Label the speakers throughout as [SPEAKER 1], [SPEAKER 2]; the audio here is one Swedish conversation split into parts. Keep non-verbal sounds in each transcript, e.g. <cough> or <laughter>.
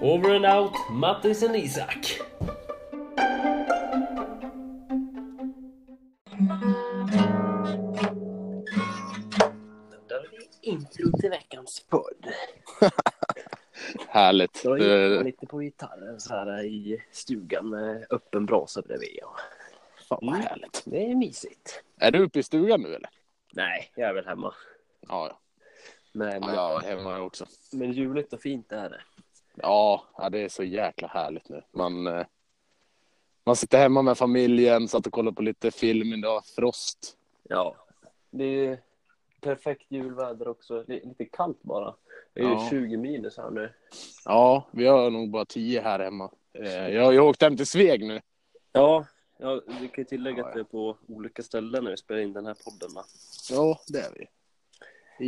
[SPEAKER 1] Over and out, Mattisen Isak. Där har vi intro till veckans podd.
[SPEAKER 2] Härligt. Eh,
[SPEAKER 1] Då
[SPEAKER 2] Det-
[SPEAKER 1] gick man lite på gitarren så här i stugan med öppen brasa bredvid. och- Fan vad
[SPEAKER 2] Mm.
[SPEAKER 1] härligt. Det är mysigt.
[SPEAKER 2] är du uppe i stugan nu eller?
[SPEAKER 1] Nej, jag är väl hemma.
[SPEAKER 2] Ja, ja.
[SPEAKER 1] Men,
[SPEAKER 2] ja jag är hemma också.
[SPEAKER 1] men juligt och fint är det.
[SPEAKER 2] Ja, ja, det är så jäkla härligt nu. Man, eh, man sitter hemma med familjen, satt och kollade på lite film idag, Frost.
[SPEAKER 1] Ja. Det är ju perfekt julväder också. Det är lite kallt bara. Det är
[SPEAKER 2] Ja.
[SPEAKER 1] ju 20 minus här nu.
[SPEAKER 2] Ja, vi har nog bara tio här hemma. Eh, Jag, jag åkte hem till Sveg nu.
[SPEAKER 1] Ja, ja vi kan ju tillägga
[SPEAKER 2] Ja,
[SPEAKER 1] att
[SPEAKER 2] ja.
[SPEAKER 1] vi är på olika ställen när vi spelar in den här podden. va?
[SPEAKER 2] Ja, det är vi.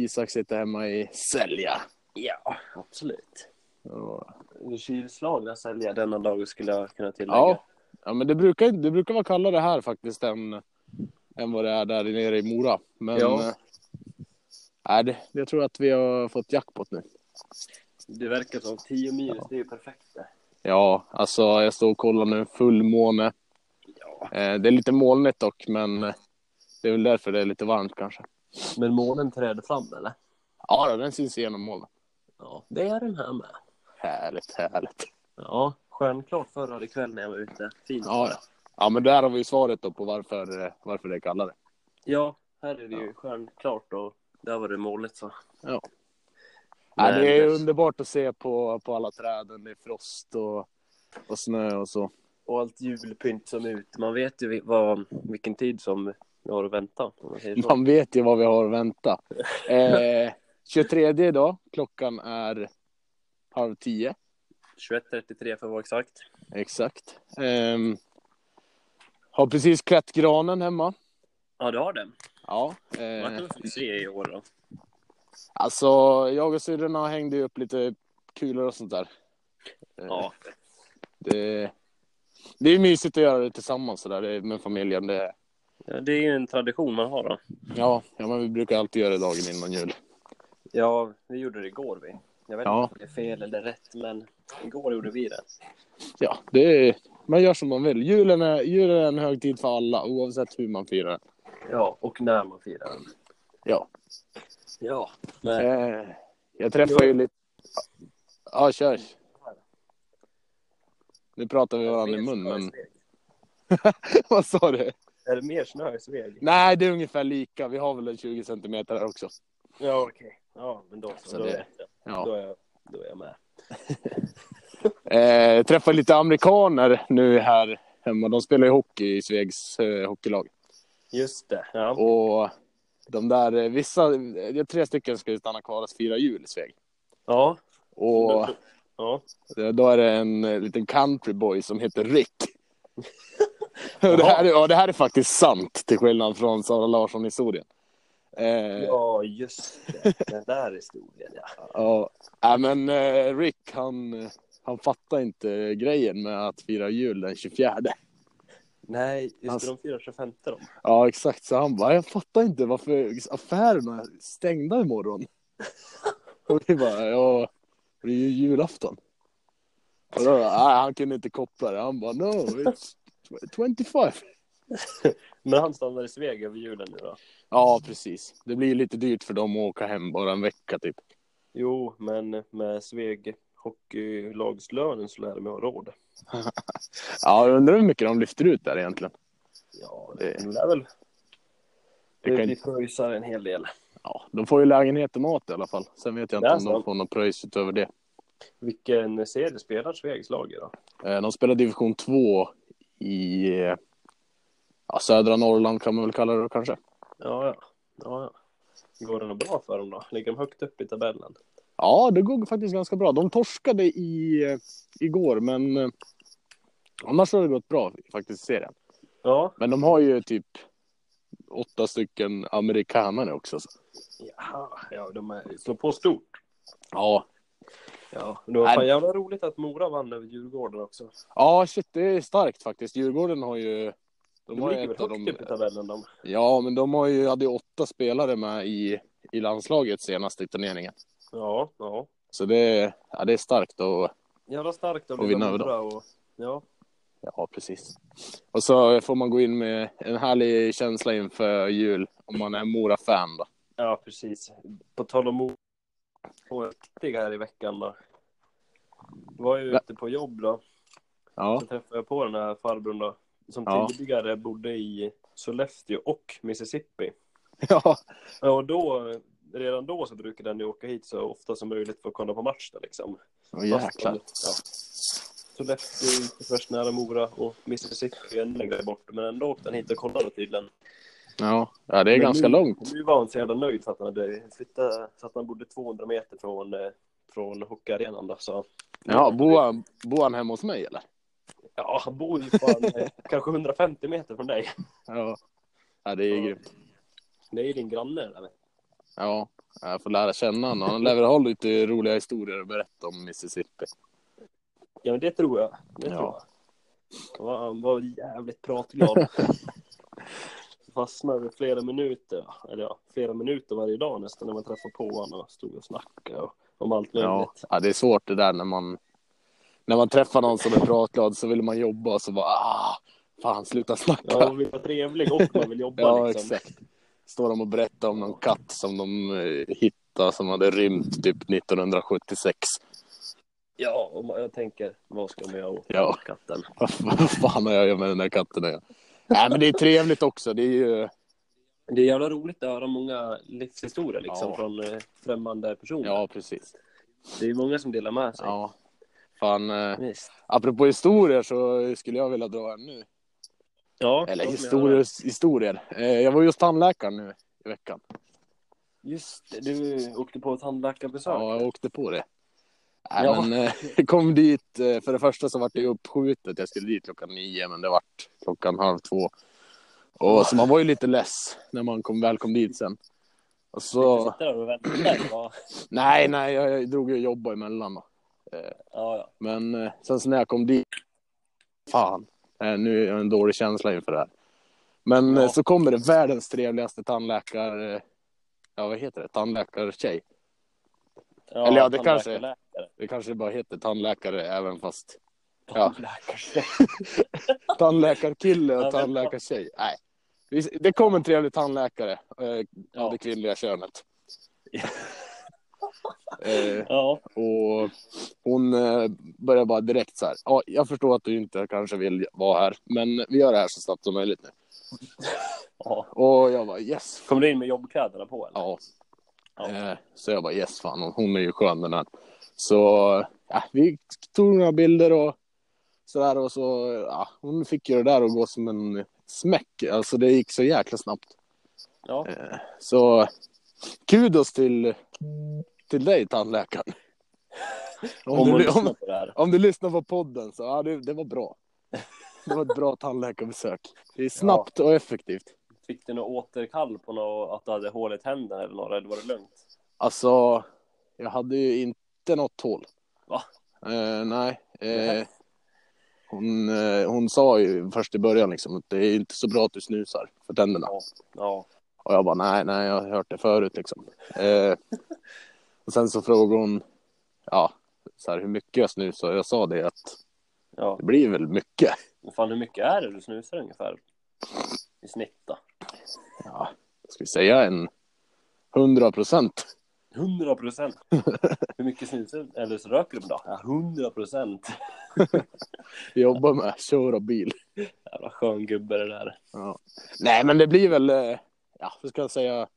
[SPEAKER 2] Isak sitter hemma i Sälja.
[SPEAKER 1] Ja, absolut.
[SPEAKER 2] Ja,
[SPEAKER 1] Kylslagna säljer denna dag skulle jag kunna tillägga.
[SPEAKER 2] ja Ja, men det brukar, det brukar vara kallare här faktiskt än, än vad det är där nere i Mora. Men
[SPEAKER 1] Ja.
[SPEAKER 2] eh, nej, det, jag tror att vi har fått jackpot nu.
[SPEAKER 1] Det verkar som 10 minus, det är ju perfekt det.
[SPEAKER 2] Ja, alltså jag står och kollar nu, fullmåne.
[SPEAKER 1] Ja.
[SPEAKER 2] Eh, det är lite molnigt dock, men eh, det är väl därför det är lite varmt kanske.
[SPEAKER 1] Men månen träder fram eller?
[SPEAKER 2] Ja, då, den syns igenom molnen.
[SPEAKER 1] Ja, det är den här med.
[SPEAKER 2] Härligt, härligt.
[SPEAKER 1] Ja, stjärnklart förra ikväll när jag var ute. Fint.
[SPEAKER 2] Ja, ja. ja, men där har vi ju svaret då på varför, eh, varför det är kallare.
[SPEAKER 1] ja här är det ju stjärnklart och där var det molnigt så. Men-
[SPEAKER 2] Ja. Nej, det är underbart att se på, på alla träden, det är frost och, och snö och så.
[SPEAKER 1] Och allt julpynt som är ute. Man vet ju vi- vad, vilken tid som vi har att vänta. Om man säger så.
[SPEAKER 2] Man vet ju vad vi har
[SPEAKER 1] <laughs>
[SPEAKER 2] att vänta. Eh, 23 idag, klockan är halv tio.
[SPEAKER 1] 21.33 för att vara exakt.
[SPEAKER 2] Exakt. Ehm, har precis klätt granen hemma.
[SPEAKER 1] Ja, du har den.
[SPEAKER 2] Ja.
[SPEAKER 1] Vart
[SPEAKER 2] Eh,
[SPEAKER 1] har du se typ i år då?
[SPEAKER 2] alltså, jag och syrrorna hängde ju upp lite kulor och sånt där. Eh,
[SPEAKER 1] Ja,
[SPEAKER 2] Det, det är mysigt att göra det tillsammans sådär det är med familjen. Det,
[SPEAKER 1] Ja, det är ju en tradition man har då.
[SPEAKER 2] ja, ja, men vi brukar alltid göra det dagen innan jul.
[SPEAKER 1] Ja, vi gjorde det igår vi. Jag vet
[SPEAKER 2] Ja.
[SPEAKER 1] inte om det är fel eller rätt, men igår gjorde vi det.
[SPEAKER 2] Ja, det är, man gör som man vill. Julen är, julen är en högtid för alla, oavsett hur man firar den.
[SPEAKER 1] Ja, och när man firar den.
[SPEAKER 2] Ja.
[SPEAKER 1] Ja, men
[SPEAKER 2] Eh, jag träffar ju lite... Ja, kör. Nu pratar vi varandra i mun, men... <laughs> Vad sa du?
[SPEAKER 1] Är det mer snö i Sveg?
[SPEAKER 2] Nej, det är ungefär lika. Vi har väl en 20 centimeter här också.
[SPEAKER 1] Ja, okej. Ja, men då så.
[SPEAKER 2] Så
[SPEAKER 1] då,
[SPEAKER 2] det-
[SPEAKER 1] vet jag. Då,
[SPEAKER 2] Ja.
[SPEAKER 1] är jag, då är jag <laughs> med.
[SPEAKER 2] Eh, träffar lite amerikaner nu här hemma. De spelar ju hockey i Svegs eh, hockeylag.
[SPEAKER 1] Just det. Ja.
[SPEAKER 2] Och de där, eh, vissa, eh, tre stycken ska ju stanna kvar och fira jul i Sveg.
[SPEAKER 1] Ja.
[SPEAKER 2] Och
[SPEAKER 1] Mm. ja.
[SPEAKER 2] eh, då är det en eh, liten countryboy som heter Rick. <laughs> Och det, här, är- ja, det här är faktiskt sant, till skillnad från Sara Larsson-historien. <laughs> Eh,
[SPEAKER 1] Ja, just det. Den där historien, ja.
[SPEAKER 2] Ja, nej, men eh, Rick han, han fattar inte grejen med att fira jul den 24.
[SPEAKER 1] Nej, just det.
[SPEAKER 2] Alltså-
[SPEAKER 1] De firar 25 de.
[SPEAKER 2] Ja, exakt. Så han bara, jag fattar inte varför affärerna är stängda imorgon. <laughs> Och vi bara, ja, det är ju julafton. Och då, nej, han kunde inte koppla det. Han bara, no, it's 25.
[SPEAKER 1] Men han stannar i Sveg över julen nu då?
[SPEAKER 2] Ja, precis. Det blir lite dyrt för dem att åka hem bara en vecka typ.
[SPEAKER 1] Jo, men med Sveg hockeylagslönen så lär de ha råd.
[SPEAKER 2] Ja, jag undrar hur mycket de lyfter ut där egentligen.
[SPEAKER 1] Ja,
[SPEAKER 2] det-
[SPEAKER 1] det lär väl.
[SPEAKER 2] Det
[SPEAKER 1] Det
[SPEAKER 2] kan-
[SPEAKER 1] vi pröjsar en hel del.
[SPEAKER 2] Ja, de får ju lägenhet och mat i alla fall. Sen vet jag
[SPEAKER 1] Det
[SPEAKER 2] inte
[SPEAKER 1] är
[SPEAKER 2] om de
[SPEAKER 1] sant.
[SPEAKER 2] får något pröjs utöver det.
[SPEAKER 1] Vilken serie spelar Svegs lag i då?
[SPEAKER 2] Eh, De spelar division 2 i eh, ja, södra Norrland kan man väl kalla det då, kanske.
[SPEAKER 1] Ja, ja. ja, ja. Går det nog bra för dem då? Ligger de högt upp i tabellen?
[SPEAKER 2] Ja, det går faktiskt ganska bra. De torskade i, eh, igår, men eh, annars har det gått bra faktiskt i serien.
[SPEAKER 1] Ja,
[SPEAKER 2] Men de har ju typ åtta stycken amerikanare också. Så.
[SPEAKER 1] Jaha, ja, de är, slår på stort.
[SPEAKER 2] Ja.
[SPEAKER 1] Ja, det var
[SPEAKER 2] Nej.
[SPEAKER 1] fan jävla roligt att Mora vann över Djurgården också.
[SPEAKER 2] ja, shit, det är starkt faktiskt. Djurgården har ju...
[SPEAKER 1] De,
[SPEAKER 2] De har ju
[SPEAKER 1] ligger
[SPEAKER 2] ett
[SPEAKER 1] väl
[SPEAKER 2] av
[SPEAKER 1] högt
[SPEAKER 2] de,
[SPEAKER 1] upp i tabellen de.
[SPEAKER 2] ja, men de har ju, hade ju åtta spelare med i, i landslaget senast i turneringen.
[SPEAKER 1] Ja, ja.
[SPEAKER 2] Så det, ja, det är starkt och
[SPEAKER 1] jävla starkt att
[SPEAKER 2] Och vinna över
[SPEAKER 1] bra och... Ja,
[SPEAKER 2] Ja, precis. Och så får man gå in med en härlig känsla inför jul om man är Mora-fan då.
[SPEAKER 1] ja precis. På tal om riktiga här i veckan då. Var ju
[SPEAKER 2] Va?
[SPEAKER 1] ute på jobb då.
[SPEAKER 2] Ja,
[SPEAKER 1] Så träffade jag på den här farbrorn då. Som
[SPEAKER 2] Ja.
[SPEAKER 1] tidigare bodde i Sollefteå och Mississippi.
[SPEAKER 2] ja,
[SPEAKER 1] Ja, och då, redan då så brukade han ju åka hit så ofta som möjligt för att kolla på match där liksom.
[SPEAKER 2] Åh, jäklar.
[SPEAKER 1] Fast, ja. Sollefteå är inte först nära Mora och Mississippi är ännu längre bort. Men ändå åkte han hit och kollade tydligen.
[SPEAKER 2] Ja, ja det är
[SPEAKER 1] Men
[SPEAKER 2] ganska
[SPEAKER 1] nu,
[SPEAKER 2] långt.
[SPEAKER 1] Nu var han så jävla nöjd för att han hade flyttat, så att han bodde 200 meter från, eh, från hockeyarenan då. Så.
[SPEAKER 2] Ja, bor han, bor han hemma hos mig eller?
[SPEAKER 1] Ja, han bor ju fan
[SPEAKER 2] <laughs>
[SPEAKER 1] eh, kanske 150 meter från dig.
[SPEAKER 2] Ja, ja det är ju
[SPEAKER 1] Ja.
[SPEAKER 2] grymt.
[SPEAKER 1] Det är ju din granne där.
[SPEAKER 2] Ja, jag får lära känna honom. Han lär väl ha lite roliga historier att berätta om Mississippi.
[SPEAKER 1] Ja, men det tror jag. Det
[SPEAKER 2] Ja.
[SPEAKER 1] tror jag. Han var, han var jävligt
[SPEAKER 2] <laughs>
[SPEAKER 1] pratglad. Fastnade flera minuter, eller ja, flera minuter varje dag nästan när man träffade på honom och stod och snackade och, om allt
[SPEAKER 2] Ja,
[SPEAKER 1] möjligt.
[SPEAKER 2] ja, det är svårt det där när man när man träffar någon som är pratglad så vill man jobba och så bara ah, fan sluta snacka.
[SPEAKER 1] Ja, man vill vara trevlig och man vill jobba
[SPEAKER 2] <laughs> Ja,
[SPEAKER 1] liksom.
[SPEAKER 2] exakt. Står de och berättar om någon katt som de eh, hittade som hade rymt typ 1976.
[SPEAKER 1] Ja, och man, jag tänker, vad ska man göra åt
[SPEAKER 2] Ja.
[SPEAKER 1] katten?
[SPEAKER 2] Vad f- vad fan har jag gjort med den där katten? Ja. Nej, men det är trevligt också. Det är ju,
[SPEAKER 1] Det är jävla roligt att höra många livshistorier liksom
[SPEAKER 2] Ja.
[SPEAKER 1] från eh, främmande personer.
[SPEAKER 2] ja precis.
[SPEAKER 1] Det är många som delar med sig.
[SPEAKER 2] Ja. Fan, eh,
[SPEAKER 1] Visst.
[SPEAKER 2] apropå historier så skulle jag vilja dra en nu.
[SPEAKER 1] Ja,
[SPEAKER 2] Eller
[SPEAKER 1] låt mig
[SPEAKER 2] historier,
[SPEAKER 1] höra.
[SPEAKER 2] historier. Eh, jag var just tandläkaren nu i veckan.
[SPEAKER 1] Just det, du åkte på ett tandläkarbesök.
[SPEAKER 2] Ja, jag åkte på det. Nej,
[SPEAKER 1] Ja.
[SPEAKER 2] men, eh, <laughs> kom dit, eh, för det första så vart det ju uppskjutet. Jag skulle dit klockan nio, men det vart klockan halv två. Och, så man var ju lite less när man kom, väl kom dit sen. Och
[SPEAKER 1] Du
[SPEAKER 2] så,
[SPEAKER 1] sitter där och väntar. Ja,
[SPEAKER 2] nej, nej, jag, jag drog ju och jobbade emellan. Då.
[SPEAKER 1] ja. ja.
[SPEAKER 2] Men eh, sen så när jag kom dit, fan, eh, nu är jag en dålig känsla inför det här. Men
[SPEAKER 1] Ja.
[SPEAKER 2] eh, så kommer det världens trevligaste tandläkar... Eh, ja, vad heter det? Tandläkartjej.
[SPEAKER 1] Ja,
[SPEAKER 2] Eller ja, det
[SPEAKER 1] tandläkare-
[SPEAKER 2] kanske-
[SPEAKER 1] läkare.
[SPEAKER 2] Det kanske bara heter tandläkare
[SPEAKER 1] <laughs>
[SPEAKER 2] även fast... Ja,
[SPEAKER 1] Tandläkare.
[SPEAKER 2] tandläkarkille
[SPEAKER 1] Ja,
[SPEAKER 2] och
[SPEAKER 1] men-
[SPEAKER 2] tandläkartjej. Nej. Vi- Det kom en trevlig tandläkare eh, av det kvinnliga könet. eh,
[SPEAKER 1] Ja,
[SPEAKER 2] Och hon eh, börjar bara direkt så här. Ja, jag förstår att du inte kanske vill vara här, men vi gör det här så snabbt som möjligt nu.
[SPEAKER 1] ja.
[SPEAKER 2] Och jag bara yes.
[SPEAKER 1] Kommer du in med jobbkläderna på? Eller?
[SPEAKER 2] Ja.
[SPEAKER 1] Ja.
[SPEAKER 2] Eh, Så jag bara yes fan, hon- hon är ju skön den här. Så ja, vi tog några bilder och så där och så ja, hon fick ju det där att gå som en smäck. Alltså det gick så jäkla snabbt.
[SPEAKER 1] Ja.
[SPEAKER 2] Eh, Så kudos till, till dig tandläkaren.
[SPEAKER 1] Om,
[SPEAKER 2] Om
[SPEAKER 1] hon
[SPEAKER 2] du, om,
[SPEAKER 1] lyssnar på det här.
[SPEAKER 2] Om du lyssnar på podden så, ja det, det var bra. Det var ett bra tandläkarbesök. Det är snabbt och effektivt.
[SPEAKER 1] Fick du något återkall på något, att du hade hål i tänderna eller något? Eller var det lugnt?
[SPEAKER 2] Alltså, jag hade ju inte något hål.
[SPEAKER 1] Va?
[SPEAKER 2] Eh, nej. Eh, hon, eh, hon sa ju först i början liksom att det är inte så bra att du snusar för tänderna.
[SPEAKER 1] Ja.
[SPEAKER 2] Och jag bara nej, nej, jag har hört det förut liksom. Eh, och sen så frågade hon, ja, så här, hur mycket jag snusar. Jag sa det att
[SPEAKER 1] ja.
[SPEAKER 2] det blir väl mycket.
[SPEAKER 1] Men fan, hur mycket är det du snusar ungefär? I snitt då?
[SPEAKER 2] ja, ska vi säga en 100 procent.
[SPEAKER 1] 100 <laughs> procent. Hur mycket snusar Eller så röker du på dag? Ja, 100 procent.
[SPEAKER 2] Jobba med, köra bil.
[SPEAKER 1] Jävla skön gubbe det där.
[SPEAKER 2] Ja. Nej, men det blir väl, eh, ja, vad ska jag säga,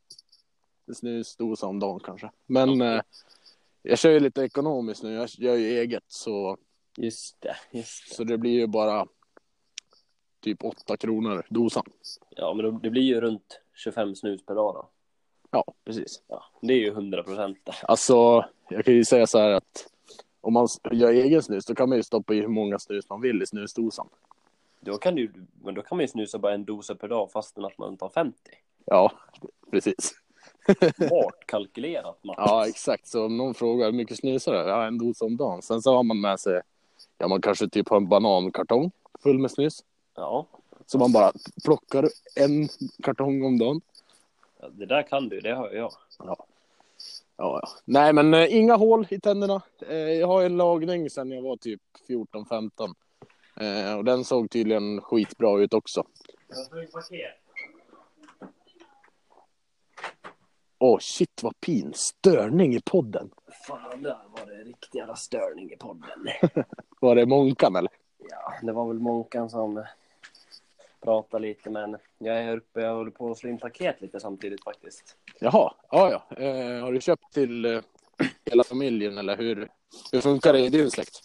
[SPEAKER 2] en snusdosa om dagen kanske. Men eh, jag kör ju lite ekonomiskt nu, jag gör ju eget så,
[SPEAKER 1] Just det, just det.
[SPEAKER 2] så det blir ju bara typ 8 kronor dosan.
[SPEAKER 1] Ja, men det- det blir ju runt 25 snus per dag då.
[SPEAKER 2] Ja, precis.
[SPEAKER 1] Ja, det är ju 100 procent.
[SPEAKER 2] Alltså, jag kan ju säga så här att om man s- gör egen snus, då kan man ju stoppa i hur många snus man vill i snusdosan.
[SPEAKER 1] Då kan, du, men då kan man ju snusa bara en dosa per dag fastän att man tar 50.
[SPEAKER 2] Ja, precis.
[SPEAKER 1] Smart kalkylerat Mats.
[SPEAKER 2] Ja, exakt. Så om någon frågar hur mycket snusar du? Ja, en dos om dagen. Sen så har man med sig, ja man kanske typ har en banankartong full med snus.
[SPEAKER 1] ja,
[SPEAKER 2] Så man bara plockar en kartong om dagen.
[SPEAKER 1] det där kan du, det hör jag.
[SPEAKER 2] Ja. Ja, ja. Nej, men eh, inga hål i tänderna. Eh, jag har en lagning sen jag var typ 14-15. Eh, och den såg tydligen skitbra ut också.
[SPEAKER 1] Jag tog paket.
[SPEAKER 2] Åh, shit vad pin. Störning i podden.
[SPEAKER 1] Fan, där var det riktig jävla störning i podden.
[SPEAKER 2] Var det Månkan eller?
[SPEAKER 1] Ja, det var väl Månkan som pratade lite, men jag är här uppe och håller på att slå in paket lite samtidigt faktiskt.
[SPEAKER 2] Jaha, ja, ja. Eh, har du köpt till eh, hela familjen eller hur, hur funkar det i din släkt?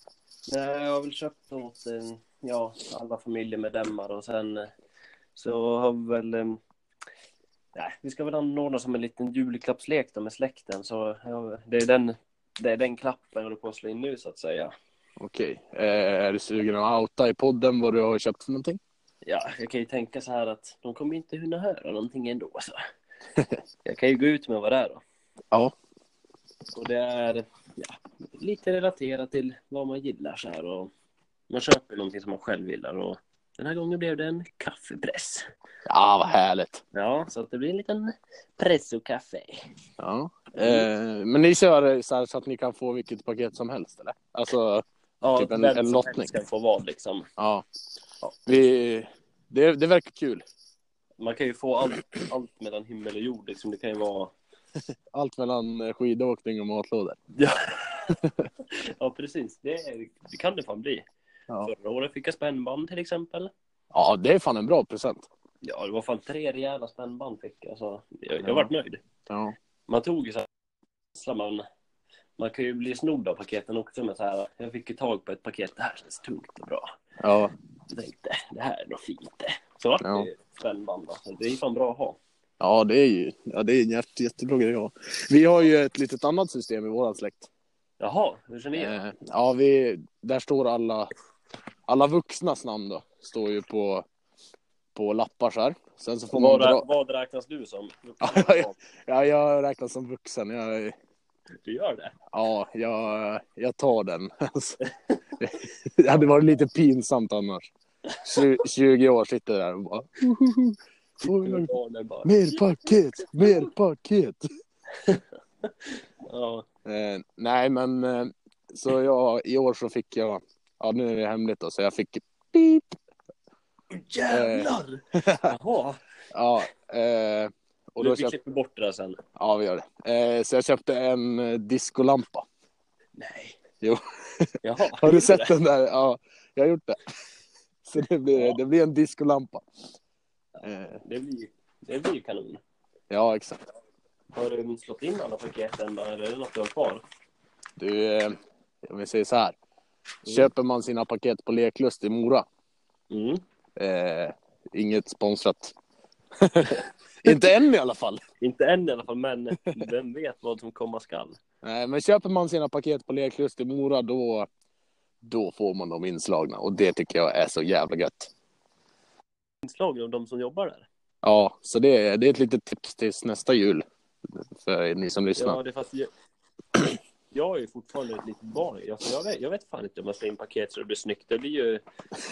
[SPEAKER 1] Nej, Eh, Jag har väl köpt åt eh, ja, alla familjemedlemmar och sen eh, så har vi väl... eh, Nej, vi ska väl anordna som en liten julklappslek då med släkten. Så ja, det, är den, det är den klappen jag håller på att slå in nu så att säga.
[SPEAKER 2] Okej. Eh, är du sugen att outa i podden vad du har köpt för någonting?
[SPEAKER 1] Ja, jag kan ju tänka så här att de kommer inte hinna höra någonting ändå. Så. Jag kan ju gå ut med vad det är då.
[SPEAKER 2] Ja.
[SPEAKER 1] Och det är ja, lite relaterat till vad man gillar så här. Och man köper någonting som man själv gillar. Och den här gången blev det en kaffepress.
[SPEAKER 2] Ja, vad härligt.
[SPEAKER 1] Ja, så att det blir en liten pressokaffe.
[SPEAKER 2] Ja. Eh, men ni kör eh, så, här, så att ni kan få vilket paket som helst eller? Alltså,
[SPEAKER 1] Ja,
[SPEAKER 2] Typ en-
[SPEAKER 1] vem
[SPEAKER 2] en
[SPEAKER 1] som
[SPEAKER 2] lottning.
[SPEAKER 1] helst Ska få vad liksom.
[SPEAKER 2] ja. Vi, det, det verkar kul.
[SPEAKER 1] Man kan ju få allt, allt mellan himmel och jord liksom. Det kan ju vara...
[SPEAKER 2] Allt mellan eh, skidåkning och matlådor.
[SPEAKER 1] Ja, <laughs> ja precis. Det, är, det kan det fan bli.
[SPEAKER 2] Ja.
[SPEAKER 1] Förra året fick jag spännband till exempel.
[SPEAKER 2] ja, det är fan en bra present.
[SPEAKER 1] Ja, det var fan tre rejäla spännband fick jag. Så jag, jag
[SPEAKER 2] Ja.
[SPEAKER 1] vart nöjd.
[SPEAKER 2] Ja.
[SPEAKER 1] Man tog ju så här... så Man, man kan ju bli snodd av paketen också. Men så här, jag fick ju tag på ett paket. Det här känns tungt och bra.
[SPEAKER 2] Ja.
[SPEAKER 1] Jag tänkte, det här är nog fint det. Så vart
[SPEAKER 2] Ja.
[SPEAKER 1] det ju spännband. Alltså. Det är ju fan bra att ha.
[SPEAKER 2] Ja, det är ju ja, det är en jätte, jättebra grej. att ha. Vi har ju ett litet annat system i vår släkt.
[SPEAKER 1] Jaha, hur känner ni?
[SPEAKER 2] Eh, ja, vi, där står alla, alla vuxnas namn då. Står ju på, på lappar så här. Sen så får man
[SPEAKER 1] Vad, rä-
[SPEAKER 2] dra...
[SPEAKER 1] vad räknas du som?
[SPEAKER 2] mm, <laughs> Ja, ja. Ja, jag räknas som vuxen. Jag,
[SPEAKER 1] Du gör det?
[SPEAKER 2] ja, jag, jag tar den. <laughs> Alltså, det hade varit lite pinsamt annars. Tju- 20 år sitter jag där och bara... Får jag-
[SPEAKER 1] Barnen bara,
[SPEAKER 2] <laughs> Mer paket, mer paket.
[SPEAKER 1] Ja,
[SPEAKER 2] Eh, nej, men eh, så jag, i år så fick jag, ja nu är det hemligt då, så jag fick beep.
[SPEAKER 1] jävlar! Jaha,
[SPEAKER 2] Ja, eh, och
[SPEAKER 1] du,
[SPEAKER 2] då
[SPEAKER 1] vi
[SPEAKER 2] köpte,
[SPEAKER 1] klipper bort det där sen.
[SPEAKER 2] ja vi gör det. Eh, så jag köpte en eh, diskolampa.
[SPEAKER 1] Nej.
[SPEAKER 2] Jo.
[SPEAKER 1] Jaha,
[SPEAKER 2] <laughs> Har du
[SPEAKER 1] gjorde
[SPEAKER 2] sett
[SPEAKER 1] det?
[SPEAKER 2] den där? Ja, jag har gjort det. <laughs> Så det blir,
[SPEAKER 1] Ja.
[SPEAKER 2] det blir en diskolampa. Eh,
[SPEAKER 1] Det blir, det blir kanon.
[SPEAKER 2] ja, exakt.
[SPEAKER 1] Har du slått in alla paketen där? Är det något du har kvar?
[SPEAKER 2] Du, eh, om vi säger så här. Köper man sina paket på Leklust i Mora,
[SPEAKER 1] Mm.
[SPEAKER 2] eh, inget sponsrat. <laughs> Inte än i alla fall.
[SPEAKER 1] Inte än i alla fall, men <laughs> vem vet vad som komma skall?
[SPEAKER 2] Nej, Eh, men köper man sina paket på Leklust i Mora då, då får man dem inslagna och det tycker jag är så jävla gött.
[SPEAKER 1] Inslag av de som jobbar där?
[SPEAKER 2] Ja, så det, är- det är ett litet tips till nästa jul för ni som lyssnar.
[SPEAKER 1] Ja, det fast jag, <clears throat> jag är ju fortfarande ett litet barn. Jag, jag, vet, jag vet fan inte om man slår in paket så det blir snyggt. Det blir ju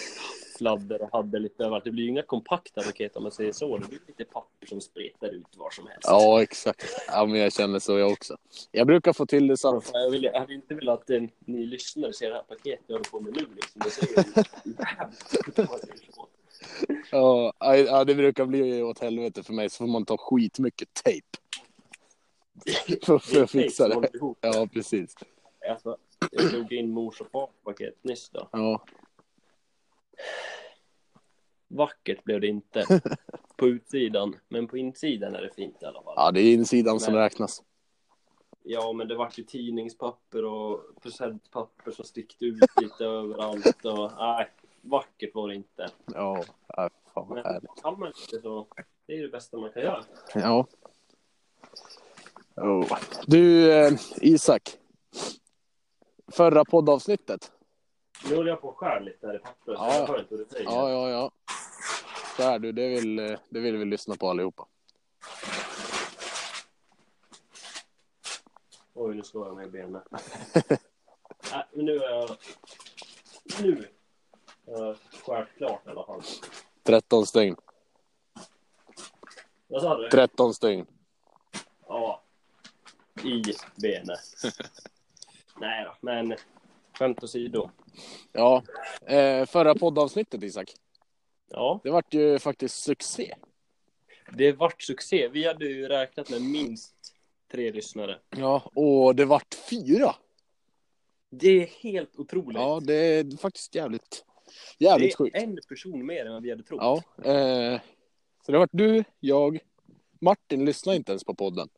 [SPEAKER 1] <laughs> fladder och hadder lite överallt. Det blir ju inga kompakta paket om man säger så. Det blir lite papper som spretar ut var som helst.
[SPEAKER 2] Ja, exakt. Ja, men jag känner så jag också. Jag brukar få till det så att...
[SPEAKER 1] Fan, Jag, vill, jag hade inte velat att eh, ni lyssnare ser det här paketet jag håller på med nu. Liksom. Det ser ju jävligt ut, om man säger så.
[SPEAKER 2] Ja, ja, det brukar bli åt helvete för mig så får man ta skitmycket tejp. För, för att fixa
[SPEAKER 1] Det är
[SPEAKER 2] det.
[SPEAKER 1] tape som håller ihop.
[SPEAKER 2] Ja, precis.
[SPEAKER 1] Alltså, jag slog in mors och fars paket nyss då.
[SPEAKER 2] Ja,
[SPEAKER 1] Vackert blev det inte
[SPEAKER 2] <laughs>
[SPEAKER 1] på utsidan, men på insidan är det fint i alla fall.
[SPEAKER 2] ja det är insidan som räknas.
[SPEAKER 1] Ja, men det vart ju tidningspapper och presentpapper som stickte ut
[SPEAKER 2] <laughs>
[SPEAKER 1] lite överallt. Och, nej, vackert var det inte.
[SPEAKER 2] Ja, ja fan vad härligt.
[SPEAKER 1] Men kan man inte så, det är ju det bästa man kan göra.
[SPEAKER 2] Ja. Oh. Du, eh, Isak. Förra poddavsnittet.
[SPEAKER 1] Nu håller jag på och skär lite här i pappret, så
[SPEAKER 2] Ja.
[SPEAKER 1] jag hör inte vad du säger.
[SPEAKER 2] Ja, ja, ja. Så här du, det vill, eh, det vill vi lyssna på allihopa.
[SPEAKER 1] Oj, nu slår jag mig i
[SPEAKER 2] <laughs>
[SPEAKER 1] benen. nej, men nu är jag... Nu har jag skärt klart i alla fall.
[SPEAKER 2] 13 stygn.
[SPEAKER 1] Vad sa du?
[SPEAKER 2] 13 stygn.
[SPEAKER 1] Ja. i
[SPEAKER 2] <laughs>
[SPEAKER 1] benet. Nej då, men skämt åsido.
[SPEAKER 2] Ja, eh, förra poddavsnittet Isak.
[SPEAKER 1] Ja,
[SPEAKER 2] Det vart ju faktiskt succé.
[SPEAKER 1] det vart succé. Vi hade ju räknat med minst tre lyssnare.
[SPEAKER 2] Ja, och det vart fyra.
[SPEAKER 1] Det är helt otroligt.
[SPEAKER 2] Ja, det är faktiskt jävligt, jävligt
[SPEAKER 1] det är
[SPEAKER 2] sjukt.
[SPEAKER 1] en person mer än vad vi hade trott.
[SPEAKER 2] Ja, eh, så det vart du, jag, Martin lyssnade inte ens på podden.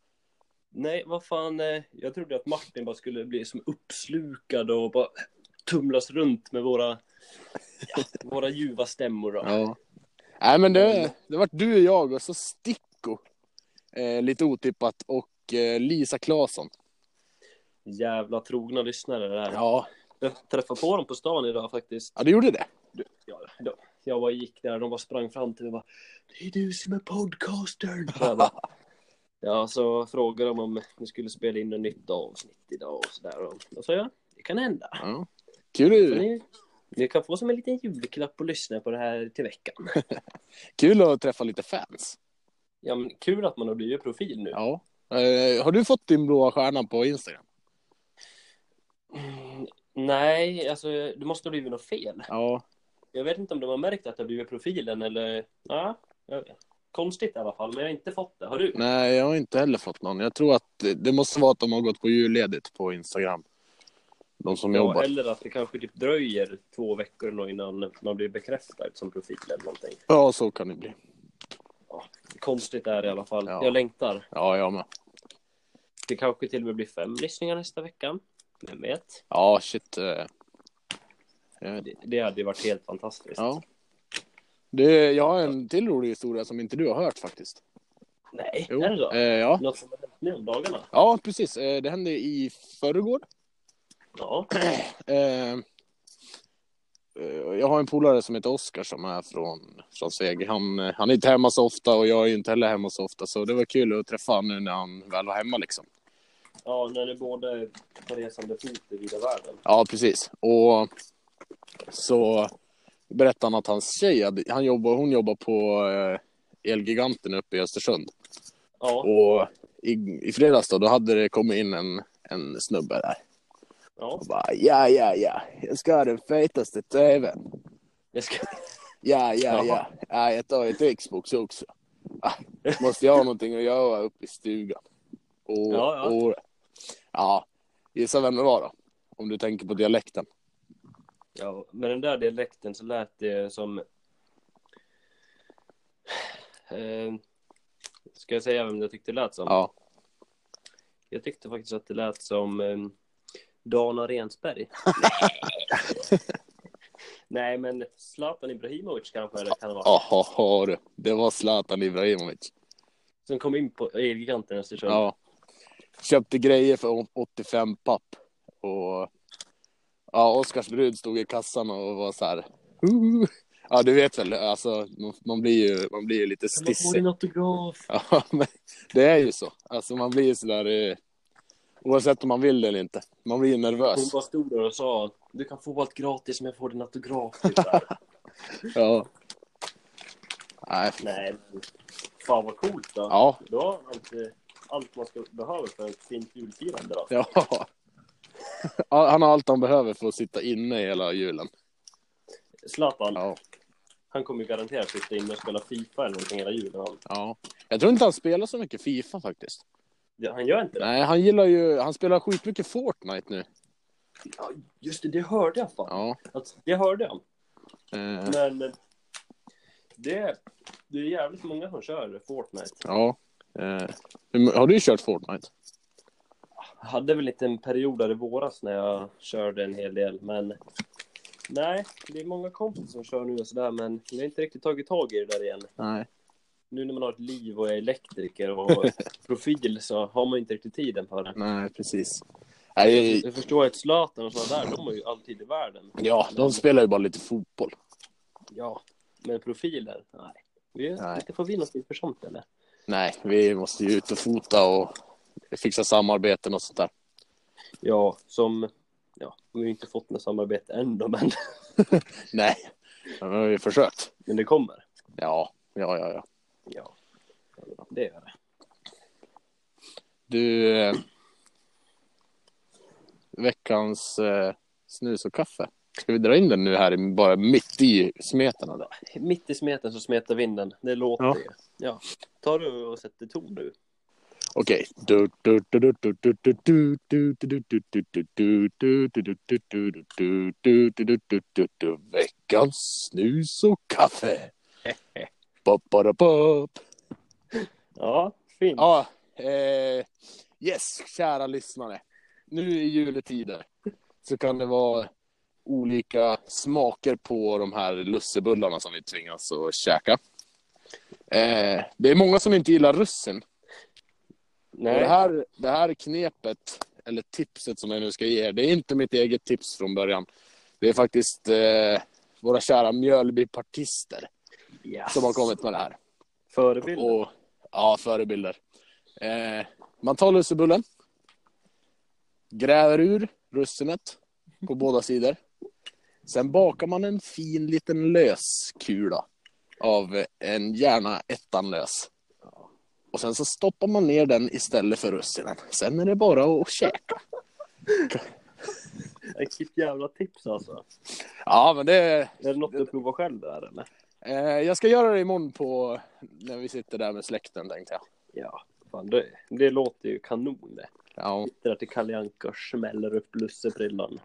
[SPEAKER 1] Nej, vad fan. eh, Jag trodde att Martin bara skulle bli som uppslukad och bara tumlas runt med våra, ja, våra ljuva stämmor. Då.
[SPEAKER 2] Ja. Nej, men det, det vart du, jag och så Sticko. Eh, lite otippat. Och eh, Lisa Claesson.
[SPEAKER 1] Jävla trogna lyssnare det här.
[SPEAKER 2] Ja.
[SPEAKER 1] Jag träffade på dem på stan idag faktiskt.
[SPEAKER 2] ja, du gjorde det.
[SPEAKER 1] Ja, de- jag bara gick där, de bara sprang fram till mig och bara Det är du som är podcastern! Och jag bara, Ja, så frågade de om vi skulle spela in något nytt avsnitt idag och sådär. Och då sa jag, det kan hända.
[SPEAKER 2] Ja. Kul,
[SPEAKER 1] Så
[SPEAKER 2] är-
[SPEAKER 1] ni, ni kan få som en liten julklapp och lyssna på det här till veckan.
[SPEAKER 2] kul att träffa lite fans.
[SPEAKER 1] Ja, men kul att man har blivit profil nu.
[SPEAKER 2] Ja. Eh, har du fått din blåa stjärna på Instagram?
[SPEAKER 1] Mm, nej, alltså det måste ha blivit något fel.
[SPEAKER 2] Ja.
[SPEAKER 1] Jag vet inte om de har märkt att det har blivit profilen eller... Ja, jag vet. konstigt i alla fall, men jag har inte fått det. Har du?
[SPEAKER 2] Nej, jag har inte heller fått någon. Jag tror att det- det måste vara att de har gått på julledigt på Instagram. De som
[SPEAKER 1] Ja,
[SPEAKER 2] jobbar.
[SPEAKER 1] eller att det kanske typ dröjer två veckor eller något innan man blir bekräftad som profil eller någonting.
[SPEAKER 2] Ja, så kan det bli.
[SPEAKER 1] Konstigt är det i alla fall.
[SPEAKER 2] Ja.
[SPEAKER 1] Jag längtar.
[SPEAKER 2] Ja, jag med.
[SPEAKER 1] Det kanske till och med blir fem lyssningar nästa vecka. Vem vet?
[SPEAKER 2] Ja, shit. eh. Jag vet
[SPEAKER 1] Det, det hade ju varit helt fantastiskt.
[SPEAKER 2] Ja. Det, jag har en till rolig historia som inte du har hört faktiskt.
[SPEAKER 1] Nej,
[SPEAKER 2] Jo.
[SPEAKER 1] är det så?
[SPEAKER 2] Eh, ja.
[SPEAKER 1] Något som har hänt nu om dagarna?
[SPEAKER 2] ja, precis. Eh, det hände i förrgår.
[SPEAKER 1] Ja.
[SPEAKER 2] Eh, eh, jag har en polare som heter Oskar som är från, från Sveg. Han, eh, han är inte hemma så ofta och jag är inte heller hemma så ofta. Så det var kul att träffa honom nu när han väl var hemma liksom.
[SPEAKER 1] ja, när ni båda är på resande fot i vida världen.
[SPEAKER 2] Ja, precis. Och så berättade han att hans tjej, hade- han jobbar, hon jobbar på eh, Elgiganten uppe i Östersund.
[SPEAKER 1] Ja,
[SPEAKER 2] Och i, i fredags då, då hade det kommit in en, en snubbe där.
[SPEAKER 1] ja.
[SPEAKER 2] Och bara ja, ja, ja, jag ska ha den fetaste tvn.
[SPEAKER 1] Jag ska...
[SPEAKER 2] Ja, ja, ja.
[SPEAKER 1] Jaha.
[SPEAKER 2] ja jag tar ett Xbox också. Ah, måste jag ha någonting att göra uppe i stugan? Och,
[SPEAKER 1] Ja, ja.
[SPEAKER 2] Och, ja, gissa vem det var då? Om du tänker på dialekten.
[SPEAKER 1] Ja, med den där dialekten så lät det som... Eh, ska jag säga vem jag tyckte det lät som?
[SPEAKER 2] Ja.
[SPEAKER 1] Jag tyckte faktiskt att det lät som eh, Dana
[SPEAKER 2] <laughs>
[SPEAKER 1] Rensberg. Nej, men Zlatan Ibrahimovic kanske det kan vara.
[SPEAKER 2] Jaha, har du. Det var Zlatan Ibrahimovic.
[SPEAKER 1] Som kom in på Elgiganten i Östersund.
[SPEAKER 2] Ja. Köpte grejer för 85 papp. Och ja, Oskars brud stod i kassan och var så här. "Huhu." Ja, du vet väl, alltså, man- man blir ju, man blir ju lite
[SPEAKER 1] Kan man få
[SPEAKER 2] stissig.
[SPEAKER 1] din autograf?
[SPEAKER 2] <laughs> Ja, men det är ju så. Alltså, man blir ju så där, eh, oavsett om man vill det eller inte. Man blir ju
[SPEAKER 1] Hon
[SPEAKER 2] nervös.
[SPEAKER 1] bara stod där och sa du kan få allt gratis om jag får din
[SPEAKER 2] <laughs>
[SPEAKER 1] autograf. typ så här.
[SPEAKER 2] Ja. Nej.
[SPEAKER 1] Nej, men fan vad coolt då.
[SPEAKER 2] Ja,
[SPEAKER 1] Då har man allt, eh, allt man ska behöva för ett fint julfirande då.
[SPEAKER 2] ja. <laughs> Ja, Han har allt han behöver för att sitta inne hela julen.
[SPEAKER 1] Zlatan,
[SPEAKER 2] Ja.
[SPEAKER 1] han kommer ju garanterat sitta inne och spela Fifa eller någonting hela julen. Han,
[SPEAKER 2] ja. Jag tror inte han spelar så mycket Fifa faktiskt.
[SPEAKER 1] Ja, han gör inte det?
[SPEAKER 2] Nej, han gillar ju, han spelar skitmycket Fortnite nu.
[SPEAKER 1] Ja, just det, det hörde jag fan.
[SPEAKER 2] Ja.
[SPEAKER 1] Att, det hörde Alltså, jag.
[SPEAKER 2] Eh,
[SPEAKER 1] Men eh, det, det är jävligt många som kör Fortnite.
[SPEAKER 2] ja. Eh, hur- har du kört Fortnite?
[SPEAKER 1] Jag hade väl inte en period där i våras när jag körde en hel del, men nej, det är många kompisar som kör nu och sådär, men jag har inte riktigt tagit tag i det där igen.
[SPEAKER 2] Nej.
[SPEAKER 1] Nu när man har ett liv och är elektriker <laughs> och profil så har man inte riktigt tiden för det.
[SPEAKER 2] Nej, precis. Nej,
[SPEAKER 1] Jag förstår att Zlatan och sådana där, de har ju alltid i världen.
[SPEAKER 2] ja, de spelar ju bara lite fotboll.
[SPEAKER 1] Ja. Men profiler? Nej. Vi,
[SPEAKER 2] Nej.
[SPEAKER 1] Inte får vi någonting för sånt eller?
[SPEAKER 2] Nej, vi måste ju ut och fota och fixa samarbeten och sånt där.
[SPEAKER 1] Ja, som... Ja, vi har ju inte fått något samarbete än då, men, <laughs>
[SPEAKER 2] Nej, men vi har ju försökt.
[SPEAKER 1] men det kommer.
[SPEAKER 2] Ja, ja, ja. ja.
[SPEAKER 1] Ja, det gör det.
[SPEAKER 2] Du, eh, veckans eh, snus och kaffe. Ska vi dra in den nu här i- bara mitt i smeten? Eller?
[SPEAKER 1] Mitt i smeten så smetar vinden. Det låter
[SPEAKER 2] Ja.
[SPEAKER 1] ju. Ja. Tar du och sätter ton nu?
[SPEAKER 2] Okej. Veckans snus och kaffe. Ba-ba-da-ba.
[SPEAKER 1] Ja, fint.
[SPEAKER 2] Ja, eh, yes, kära lyssnare. Nu i juletider så kan det vara olika smaker på de här lussebullarna som vi tvingas att käka. Eh, det är många som inte gillar russin. Och det, här, det här knepet, eller tipset som jag nu ska ge er, det är inte mitt eget tips från början. Det är faktiskt eh, våra kära Mjölbypartister
[SPEAKER 1] Yes.
[SPEAKER 2] som har kommit med det här.
[SPEAKER 1] Förebilder.
[SPEAKER 2] Och, ja, förebilder. Eh, man tar lussebullen. Gräver ur russinet på båda sidor. Sen bakar man en fin liten lös kula av en gärna ettan lös. Och sen så stoppar man ner den istället för russinen. Sen är det bara att käka.
[SPEAKER 1] <laughs> Vilket jävla tips alltså.
[SPEAKER 2] Ja, men det...
[SPEAKER 1] Är det något du provar själv där eller?
[SPEAKER 2] Eh, jag ska göra det imorgon på... När vi sitter där med släkten, tänkte jag.
[SPEAKER 1] Ja, fan det, det låter ju kanon det.
[SPEAKER 2] Ja.
[SPEAKER 1] Sitter där till Kalle Anka och smäller upp lusseprillan.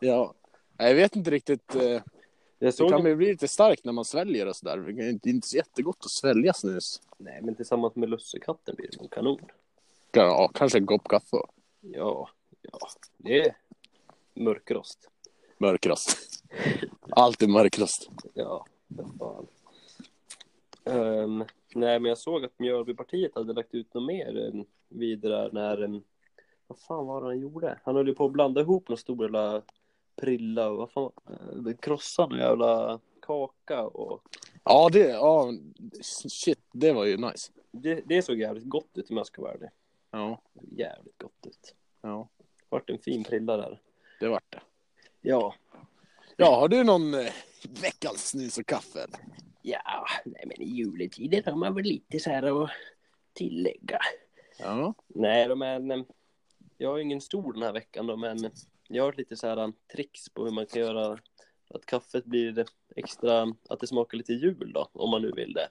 [SPEAKER 2] ja. Jag vet inte riktigt... Eh...
[SPEAKER 1] Jag
[SPEAKER 2] Det
[SPEAKER 1] såg
[SPEAKER 2] kan
[SPEAKER 1] en...
[SPEAKER 2] ju bli lite starkt när man sväljer och sådär. Det är inte- inte så jättegott att svälja snus.
[SPEAKER 1] Nej, men tillsammans med lussekatten blir det nog kanon.
[SPEAKER 2] Ja, kanske en kopp kaffe och
[SPEAKER 1] Ja, ja. Det är mörkrost.
[SPEAKER 2] <laughs> mörkrost. Alltid mörkrost.
[SPEAKER 1] Ja, vad fan. Ehm, nej, men jag såg att Mjölbypartiet hade lagt ut något mer um, vid det där när... ehm, vad fan var det han gjorde? Han höll ju på att blanda ihop någon stor jävla prilla och vad fan... Uh, krossa någon jävla kaka och...
[SPEAKER 2] Ja, det, ja, shit, det var ju nice.
[SPEAKER 1] Det, det såg jävligt gott ut om jag ska vara ärlig.
[SPEAKER 2] Ja,
[SPEAKER 1] Jävligt gott ut.
[SPEAKER 2] ja,
[SPEAKER 1] Vart en fin prilla där.
[SPEAKER 2] det vart det.
[SPEAKER 1] Ja.
[SPEAKER 2] Ja, har du någon eh, veckans snus och kaffe? eller?
[SPEAKER 1] Ja, nej men i juletider har man väl lite så här att tillägga.
[SPEAKER 2] Ja,
[SPEAKER 1] Nej, då, men eh, jag har ju ingen stor den här veckan då, men jag har lite så här eh, tricks på hur man kan göra att kaffet blir extra, att det smakar lite jul då, om man nu vill det.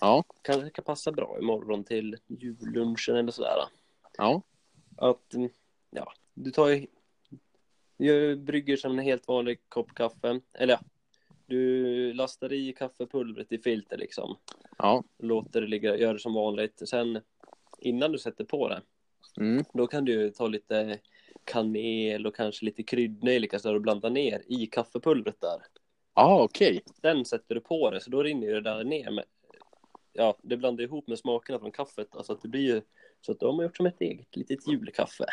[SPEAKER 2] ja,
[SPEAKER 1] Kanske kan passa bra imorgon till jullunchen eller sådär.
[SPEAKER 2] ja,
[SPEAKER 1] Att, mm, ja, du tar ju, du brygger som en helt vanlig kopp kaffe, eller ja, du lastar i kaffepulvret i filter liksom,
[SPEAKER 2] ja.
[SPEAKER 1] låter det ligga, gör det som vanligt. Sen innan du sätter på det,
[SPEAKER 2] Mm.
[SPEAKER 1] då kan du ju ta lite kanel och kanske lite kryddnejlika så du blandar ner i kaffepulvret där.
[SPEAKER 2] Ja, okej.
[SPEAKER 1] Sen sätter du på det så då rinner ju det där ner. Med, ja, det blandar ihop med smakerna från kaffet. Alltså att det blir ju så att då har man gjort som ett eget litet julkaffe.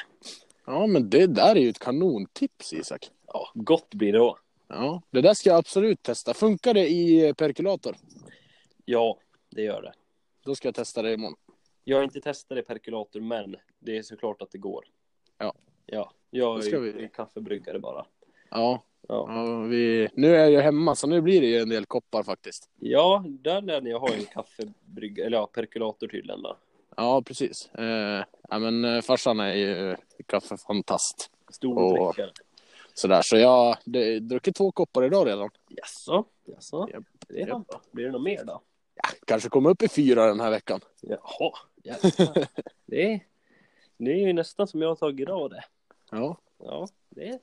[SPEAKER 2] Ja, men det där är ju ett kanontips, Isak.
[SPEAKER 1] Ja, gott blir det då.
[SPEAKER 2] Ja, det där ska jag absolut testa. Funkar det i eh, perkulator?
[SPEAKER 1] Ja, det gör det.
[SPEAKER 2] Då ska jag testa det imorgon.
[SPEAKER 1] Jag har inte testat det i perkulator, men det är såklart att det går.
[SPEAKER 2] Ja.
[SPEAKER 1] Ja, jag
[SPEAKER 2] Då
[SPEAKER 1] är
[SPEAKER 2] ska
[SPEAKER 1] ju
[SPEAKER 2] vi-
[SPEAKER 1] kaffebryggare bara.
[SPEAKER 2] Ja,
[SPEAKER 1] Ja,
[SPEAKER 2] Ja, vi... Nu är jag ju hemma, så nu blir det ju en del koppar faktiskt.
[SPEAKER 1] ja där lär ni ha en kaffebryggare, eller ja, perkulator tydligen då.
[SPEAKER 2] Ja, precis. Eh, ja, men eh, farsan är ju eh, kaffefantast.
[SPEAKER 1] Stor
[SPEAKER 2] Åh.
[SPEAKER 1] drickare.
[SPEAKER 2] Sådär, så jag det- jag druckit två koppar idag redan.
[SPEAKER 1] Jaså? Jaså?
[SPEAKER 2] Japp,
[SPEAKER 1] Det är fan bra. Blir det något mer då?
[SPEAKER 2] Ja, kanske kommer upp i fyra den här veckan.
[SPEAKER 1] Jaha. jävlar. <laughs> det, är, det är ju nästan som jag har tagit idag det.
[SPEAKER 2] Ja.
[SPEAKER 1] Ja, det är,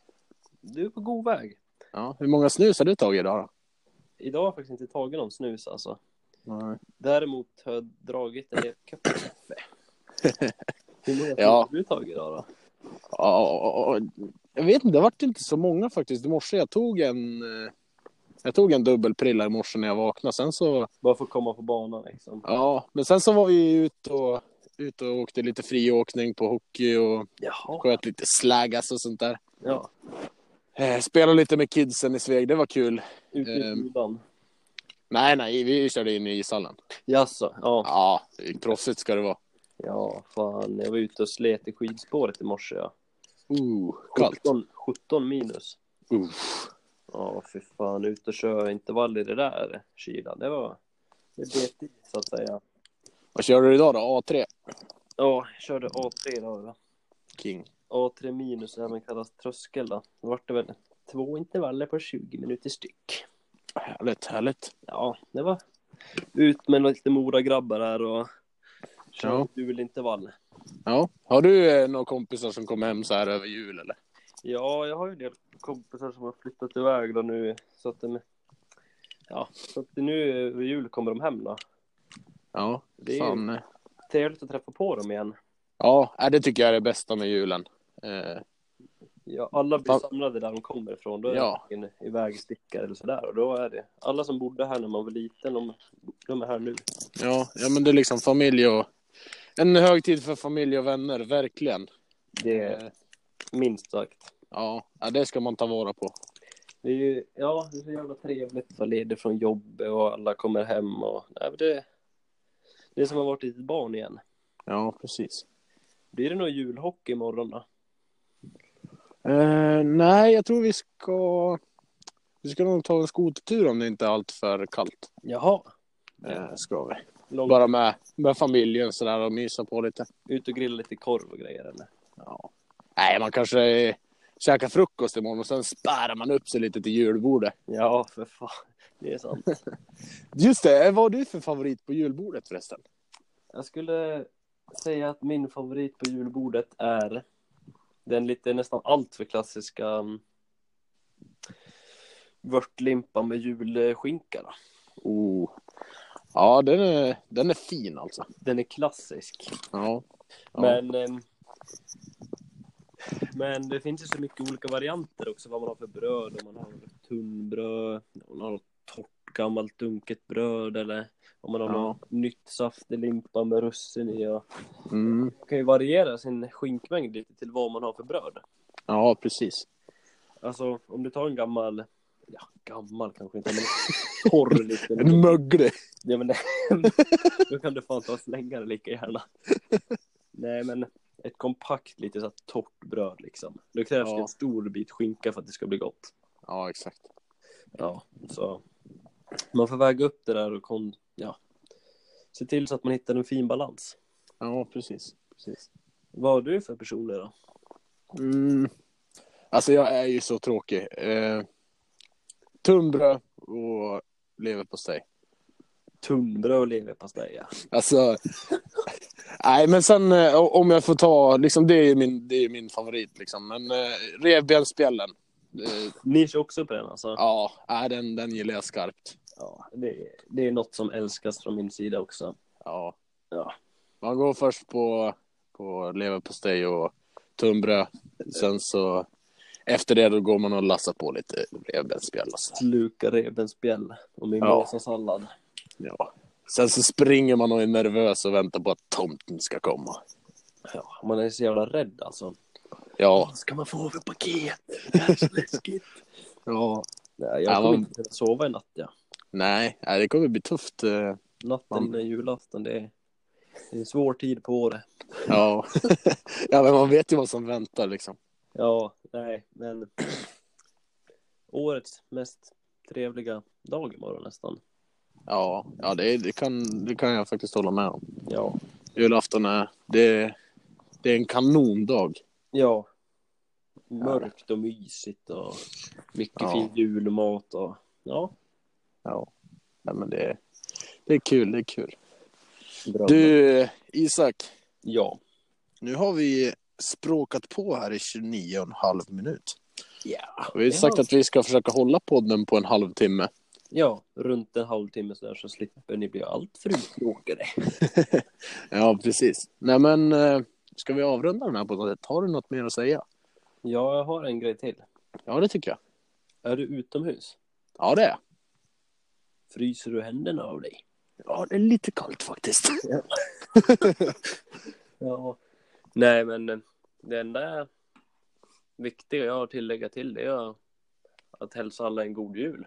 [SPEAKER 1] du är på god väg.
[SPEAKER 2] ja. Hur många snus har du tagit idag då?
[SPEAKER 1] Idag har jag faktiskt inte tagit någon snus alltså.
[SPEAKER 2] Nej.
[SPEAKER 1] Däremot har jag dragit en hel kopp <laughs> kaffe. Hur många
[SPEAKER 2] Ja.
[SPEAKER 1] har du tagit idag då?
[SPEAKER 2] Ja, jag vet inte, det vart inte så många faktiskt i morse. Jag tog en, eh, jag tog en dubbelprilla i morse när jag vaknade. Sen så,
[SPEAKER 1] Bara för att komma på banan liksom.
[SPEAKER 2] ja, men sen så var vi ju ute och, ute och åkte lite friåkning på hockey och
[SPEAKER 1] Jaha.
[SPEAKER 2] sköt lite slaggas och sånt där.
[SPEAKER 1] Ja.
[SPEAKER 2] Eh, spelade lite med kidsen i Sveg, det var kul.
[SPEAKER 1] Ut i
[SPEAKER 2] Ehm.
[SPEAKER 1] sidan.
[SPEAKER 2] Nej, nej, vi körde in i ishallen.
[SPEAKER 1] Jaså? Ja.
[SPEAKER 2] Ja, proffsigt ska det vara.
[SPEAKER 1] Ja, fan. Jag var ute och slet i skidspåret i morse ja.
[SPEAKER 2] Uh, kallt.
[SPEAKER 1] 17, 17 minus.
[SPEAKER 2] Uh.
[SPEAKER 1] Ja, fy fan. Ut och köra intervall i det där kylan. Det var... Det bet i, så att säga.
[SPEAKER 2] Vad kör du idag då? A3?
[SPEAKER 1] Ja, jag körde A3 idag. då.
[SPEAKER 2] King.
[SPEAKER 1] A3 minus, även kallas tröskel då. Då vart det väl två intervaller på 20 minuter styck.
[SPEAKER 2] Härligt, härligt.
[SPEAKER 1] Ja, det var ut med lite Mora-grabbar här och
[SPEAKER 2] Ja.
[SPEAKER 1] köra ja. intervall.
[SPEAKER 2] Ja. Har du eh, några kompisar som kom hem så här över jul eller?
[SPEAKER 1] Ja, jag har ju en del kompisar som har flyttat iväg då nu. Så att, de- ja, så att nu över jul kommer de hem då.
[SPEAKER 2] Ja,
[SPEAKER 1] Det är-
[SPEAKER 2] fan. eh.
[SPEAKER 1] Trevligt att träffa på dem igen.
[SPEAKER 2] Ja, äh, det tycker jag är det bästa med julen. Eh,
[SPEAKER 1] Ja, alla blir
[SPEAKER 2] Fan.
[SPEAKER 1] samlade där de kommer ifrån. Då är
[SPEAKER 2] Ja.
[SPEAKER 1] det ingen ivägstickare eller sådär. Och då är det alla som bodde här när man var liten, de, de är här nu.
[SPEAKER 2] ja, ja, men det är liksom familj och... En högtid för familj och vänner, verkligen.
[SPEAKER 1] Det är
[SPEAKER 2] Eh,
[SPEAKER 1] minst sagt.
[SPEAKER 2] Ja, ja, det ska man ta vara på.
[SPEAKER 1] Det är ju, ja, det är så jävla trevligt att vara ledig från jobbet och alla kommer hem och nej, men det, det är som att ha varit ett litet barn igen.
[SPEAKER 2] Ja, precis.
[SPEAKER 1] Blir det någon julhockey imorgon då?
[SPEAKER 2] Eh, nej, jag tror vi ska... Vi ska nog ta en skotertur om det inte är allt för kallt.
[SPEAKER 1] Jaha.
[SPEAKER 2] Eh, ska vi.
[SPEAKER 1] Långt
[SPEAKER 2] Bara med, med familjen sådär och mysa på lite.
[SPEAKER 1] ut och grilla lite korv och grejer eller?
[SPEAKER 2] Ja. Nej, man kanske eh, käkar frukost imorgon och sen spärrar man upp sig lite till julbordet.
[SPEAKER 1] Ja, för fan. Det är sant.
[SPEAKER 2] Just det, vad har du för favorit på julbordet förresten?
[SPEAKER 1] Jag skulle säga att min favorit på julbordet är den lite nästan alltför klassiska mm, vörtlimpa med julskinka. Då.
[SPEAKER 2] Oh. Ja, den är, den är fin alltså.
[SPEAKER 1] Den är klassisk.
[SPEAKER 2] Ja. ja.
[SPEAKER 1] Men, ehm, men det finns ju så mycket olika varianter också. Vad man har för bröd. Om man har tunnbröd. Om man har torrt gammalt dunket bröd. Eller om man har
[SPEAKER 2] Ja.
[SPEAKER 1] något nytt saftig limpa med russin i. Och...
[SPEAKER 2] Mm.
[SPEAKER 1] Man kan ju variera sin skinkmängd lite till vad man har för bröd.
[SPEAKER 2] Ja, precis.
[SPEAKER 1] Alltså om du tar en gammal, ja gammal kanske inte, men
[SPEAKER 2] <laughs>
[SPEAKER 1] torr
[SPEAKER 2] En
[SPEAKER 1] liten.
[SPEAKER 2] möglig.
[SPEAKER 1] Ja, men, <laughs> då kan du fan ta och slänga det lika gärna. Nej men ett kompakt lite så här torrt bröd liksom. Det krävs
[SPEAKER 2] Ja.
[SPEAKER 1] en stor bit skinka för att det ska bli gott.
[SPEAKER 2] Ja, exakt.
[SPEAKER 1] Ja, så man får väga upp det där och kon, ja. se till så att man hittar en fin balans.
[SPEAKER 2] Ja, precis. precis.
[SPEAKER 1] Vad har du för personer då?
[SPEAKER 2] Mm. Alltså, jag är ju så tråkig. Eh, tunnbröd och leverpastej.
[SPEAKER 1] Tunnbröd och leverpastej ja.
[SPEAKER 2] Alltså, nej men sen eh, om jag får ta, liksom, det är ju min, det är ju min favorit liksom. Men eh, revbensspjällen, eh,
[SPEAKER 1] Ni kör också på den alltså?
[SPEAKER 2] ja, nej, den, den gillar jag skarpt.
[SPEAKER 1] Ja, det, det är något som älskas från min sida också.
[SPEAKER 2] Ja.
[SPEAKER 1] Ja.
[SPEAKER 2] Man går först på, på leverpastej och tunnbröd. Sen så, efter det då går man och lassar på lite revbensspjäll. Alltså.
[SPEAKER 1] Sluka revbensspjäll och min
[SPEAKER 2] Ja.
[SPEAKER 1] Vasasallad.
[SPEAKER 2] Ja. Sen så springer man och är nervös och väntar på att tomten ska komma.
[SPEAKER 1] Ja, man är så jävla rädd alltså.
[SPEAKER 2] Ja.
[SPEAKER 1] Vad ska man få för paket? Det här är så läskigt.
[SPEAKER 2] ja.
[SPEAKER 1] <laughs> Nej,
[SPEAKER 2] Ja,
[SPEAKER 1] jag kommer
[SPEAKER 2] man-
[SPEAKER 1] inte kunna sova i natt. Ja.
[SPEAKER 2] Nej, nej, det kommer bli tufft. eh.
[SPEAKER 1] Natten
[SPEAKER 2] Man-
[SPEAKER 1] innan julafton, det är, det är en svår tid på året.
[SPEAKER 2] Ja. <laughs> ja, men man vet ju vad som väntar liksom.
[SPEAKER 1] Ja, nej, men <clears throat> årets mest trevliga dag imorgon nästan.
[SPEAKER 2] Ja, ja det, det, kan, det kan jag faktiskt hålla med om.
[SPEAKER 1] Ja.
[SPEAKER 2] Julafton är, det, det är en kanondag.
[SPEAKER 1] Ja. Mörkt och mysigt och mycket
[SPEAKER 2] Ja.
[SPEAKER 1] fin julmat och ja.
[SPEAKER 2] Ja, nej, men det, det är kul, det är kul.
[SPEAKER 1] Bra.
[SPEAKER 2] Du, Isak,
[SPEAKER 1] Ja.
[SPEAKER 2] nu har vi språkat på här i 29 och en halv minut.
[SPEAKER 1] Ja.
[SPEAKER 2] Vi har sagt att vi ska försöka hålla podden på en halvtimme.
[SPEAKER 1] Ja, runt en halvtimme sådär så slipper ni bli allt för uttråkade.
[SPEAKER 2] Ja, precis. Nej, men eh, ska vi avrunda den här på något sätt? Har du något mer att säga?
[SPEAKER 1] Ja, jag har en grej till.
[SPEAKER 2] Ja, det tycker jag.
[SPEAKER 1] Är du utomhus?
[SPEAKER 2] Ja, det är jag.
[SPEAKER 1] Fryser du händerna av dig?
[SPEAKER 2] Ja, det är lite kallt faktiskt.
[SPEAKER 1] Ja. Nej, men eh, det enda viktiga jag har att tillägga till det är att hälsa alla en god jul.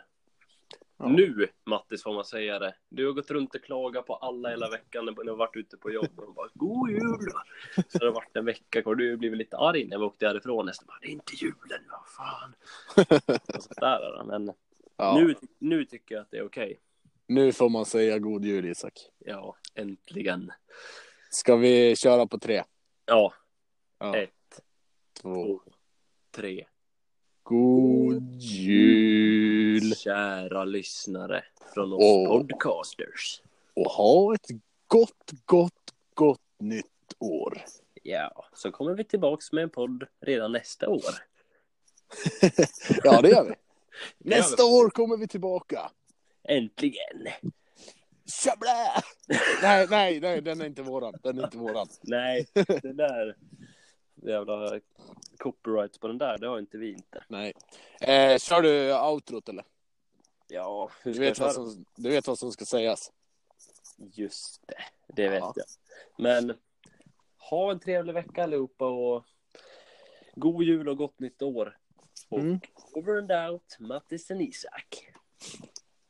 [SPEAKER 2] Ja.
[SPEAKER 1] Nu, Mattis, får man säga det. Du har gått runt och klagat på alla hela veckan när du har varit ute på jobb. Och de bara, God jul! då." Så det har varit en vecka kvar. Du har blivit lite arg när vi åkte härifrån nästan. Bara, Det är inte julen, vad
[SPEAKER 2] <laughs>
[SPEAKER 1] fan. Och sådär, då. men
[SPEAKER 2] <laughs> Ja, nu...
[SPEAKER 1] nu, nu tycker jag att det är okej.
[SPEAKER 2] nu får man säga god jul, Isak.
[SPEAKER 1] Ja, äntligen.
[SPEAKER 2] Ska vi köra på tre?
[SPEAKER 1] Ja,
[SPEAKER 2] Ja.
[SPEAKER 1] Ett.
[SPEAKER 2] två,
[SPEAKER 1] tre.
[SPEAKER 2] god jul!
[SPEAKER 1] Kära lyssnare från oss
[SPEAKER 2] Åh.
[SPEAKER 1] podcasters.
[SPEAKER 2] Och ha ett gott, gott, gott nytt år.
[SPEAKER 1] Ja, så kommer vi tillbaks med en podd redan nästa år.
[SPEAKER 2] Ja, <laughs> det gör vi.
[SPEAKER 1] Det gör
[SPEAKER 2] Nästa år kommer vi tillbaka.
[SPEAKER 1] Äntligen!
[SPEAKER 2] Tjablä! Nej, nej, nej, den är inte våran. Den är inte våran.
[SPEAKER 1] Nej, det där jävla copyright på den där, det har inte vi inte.
[SPEAKER 2] Nej. Eh, kör du outrot eller?
[SPEAKER 1] Ja, hur
[SPEAKER 2] Du
[SPEAKER 1] ska jag
[SPEAKER 2] vet,
[SPEAKER 1] köra?
[SPEAKER 2] vad som, du vet vad som ska sägas.
[SPEAKER 1] Just det, det vet
[SPEAKER 2] Ja.
[SPEAKER 1] jag. Men ha en trevlig vecka allihopa och god jul och gott nytt år. Och
[SPEAKER 2] Mm.
[SPEAKER 1] over and out, Mattis och Isak.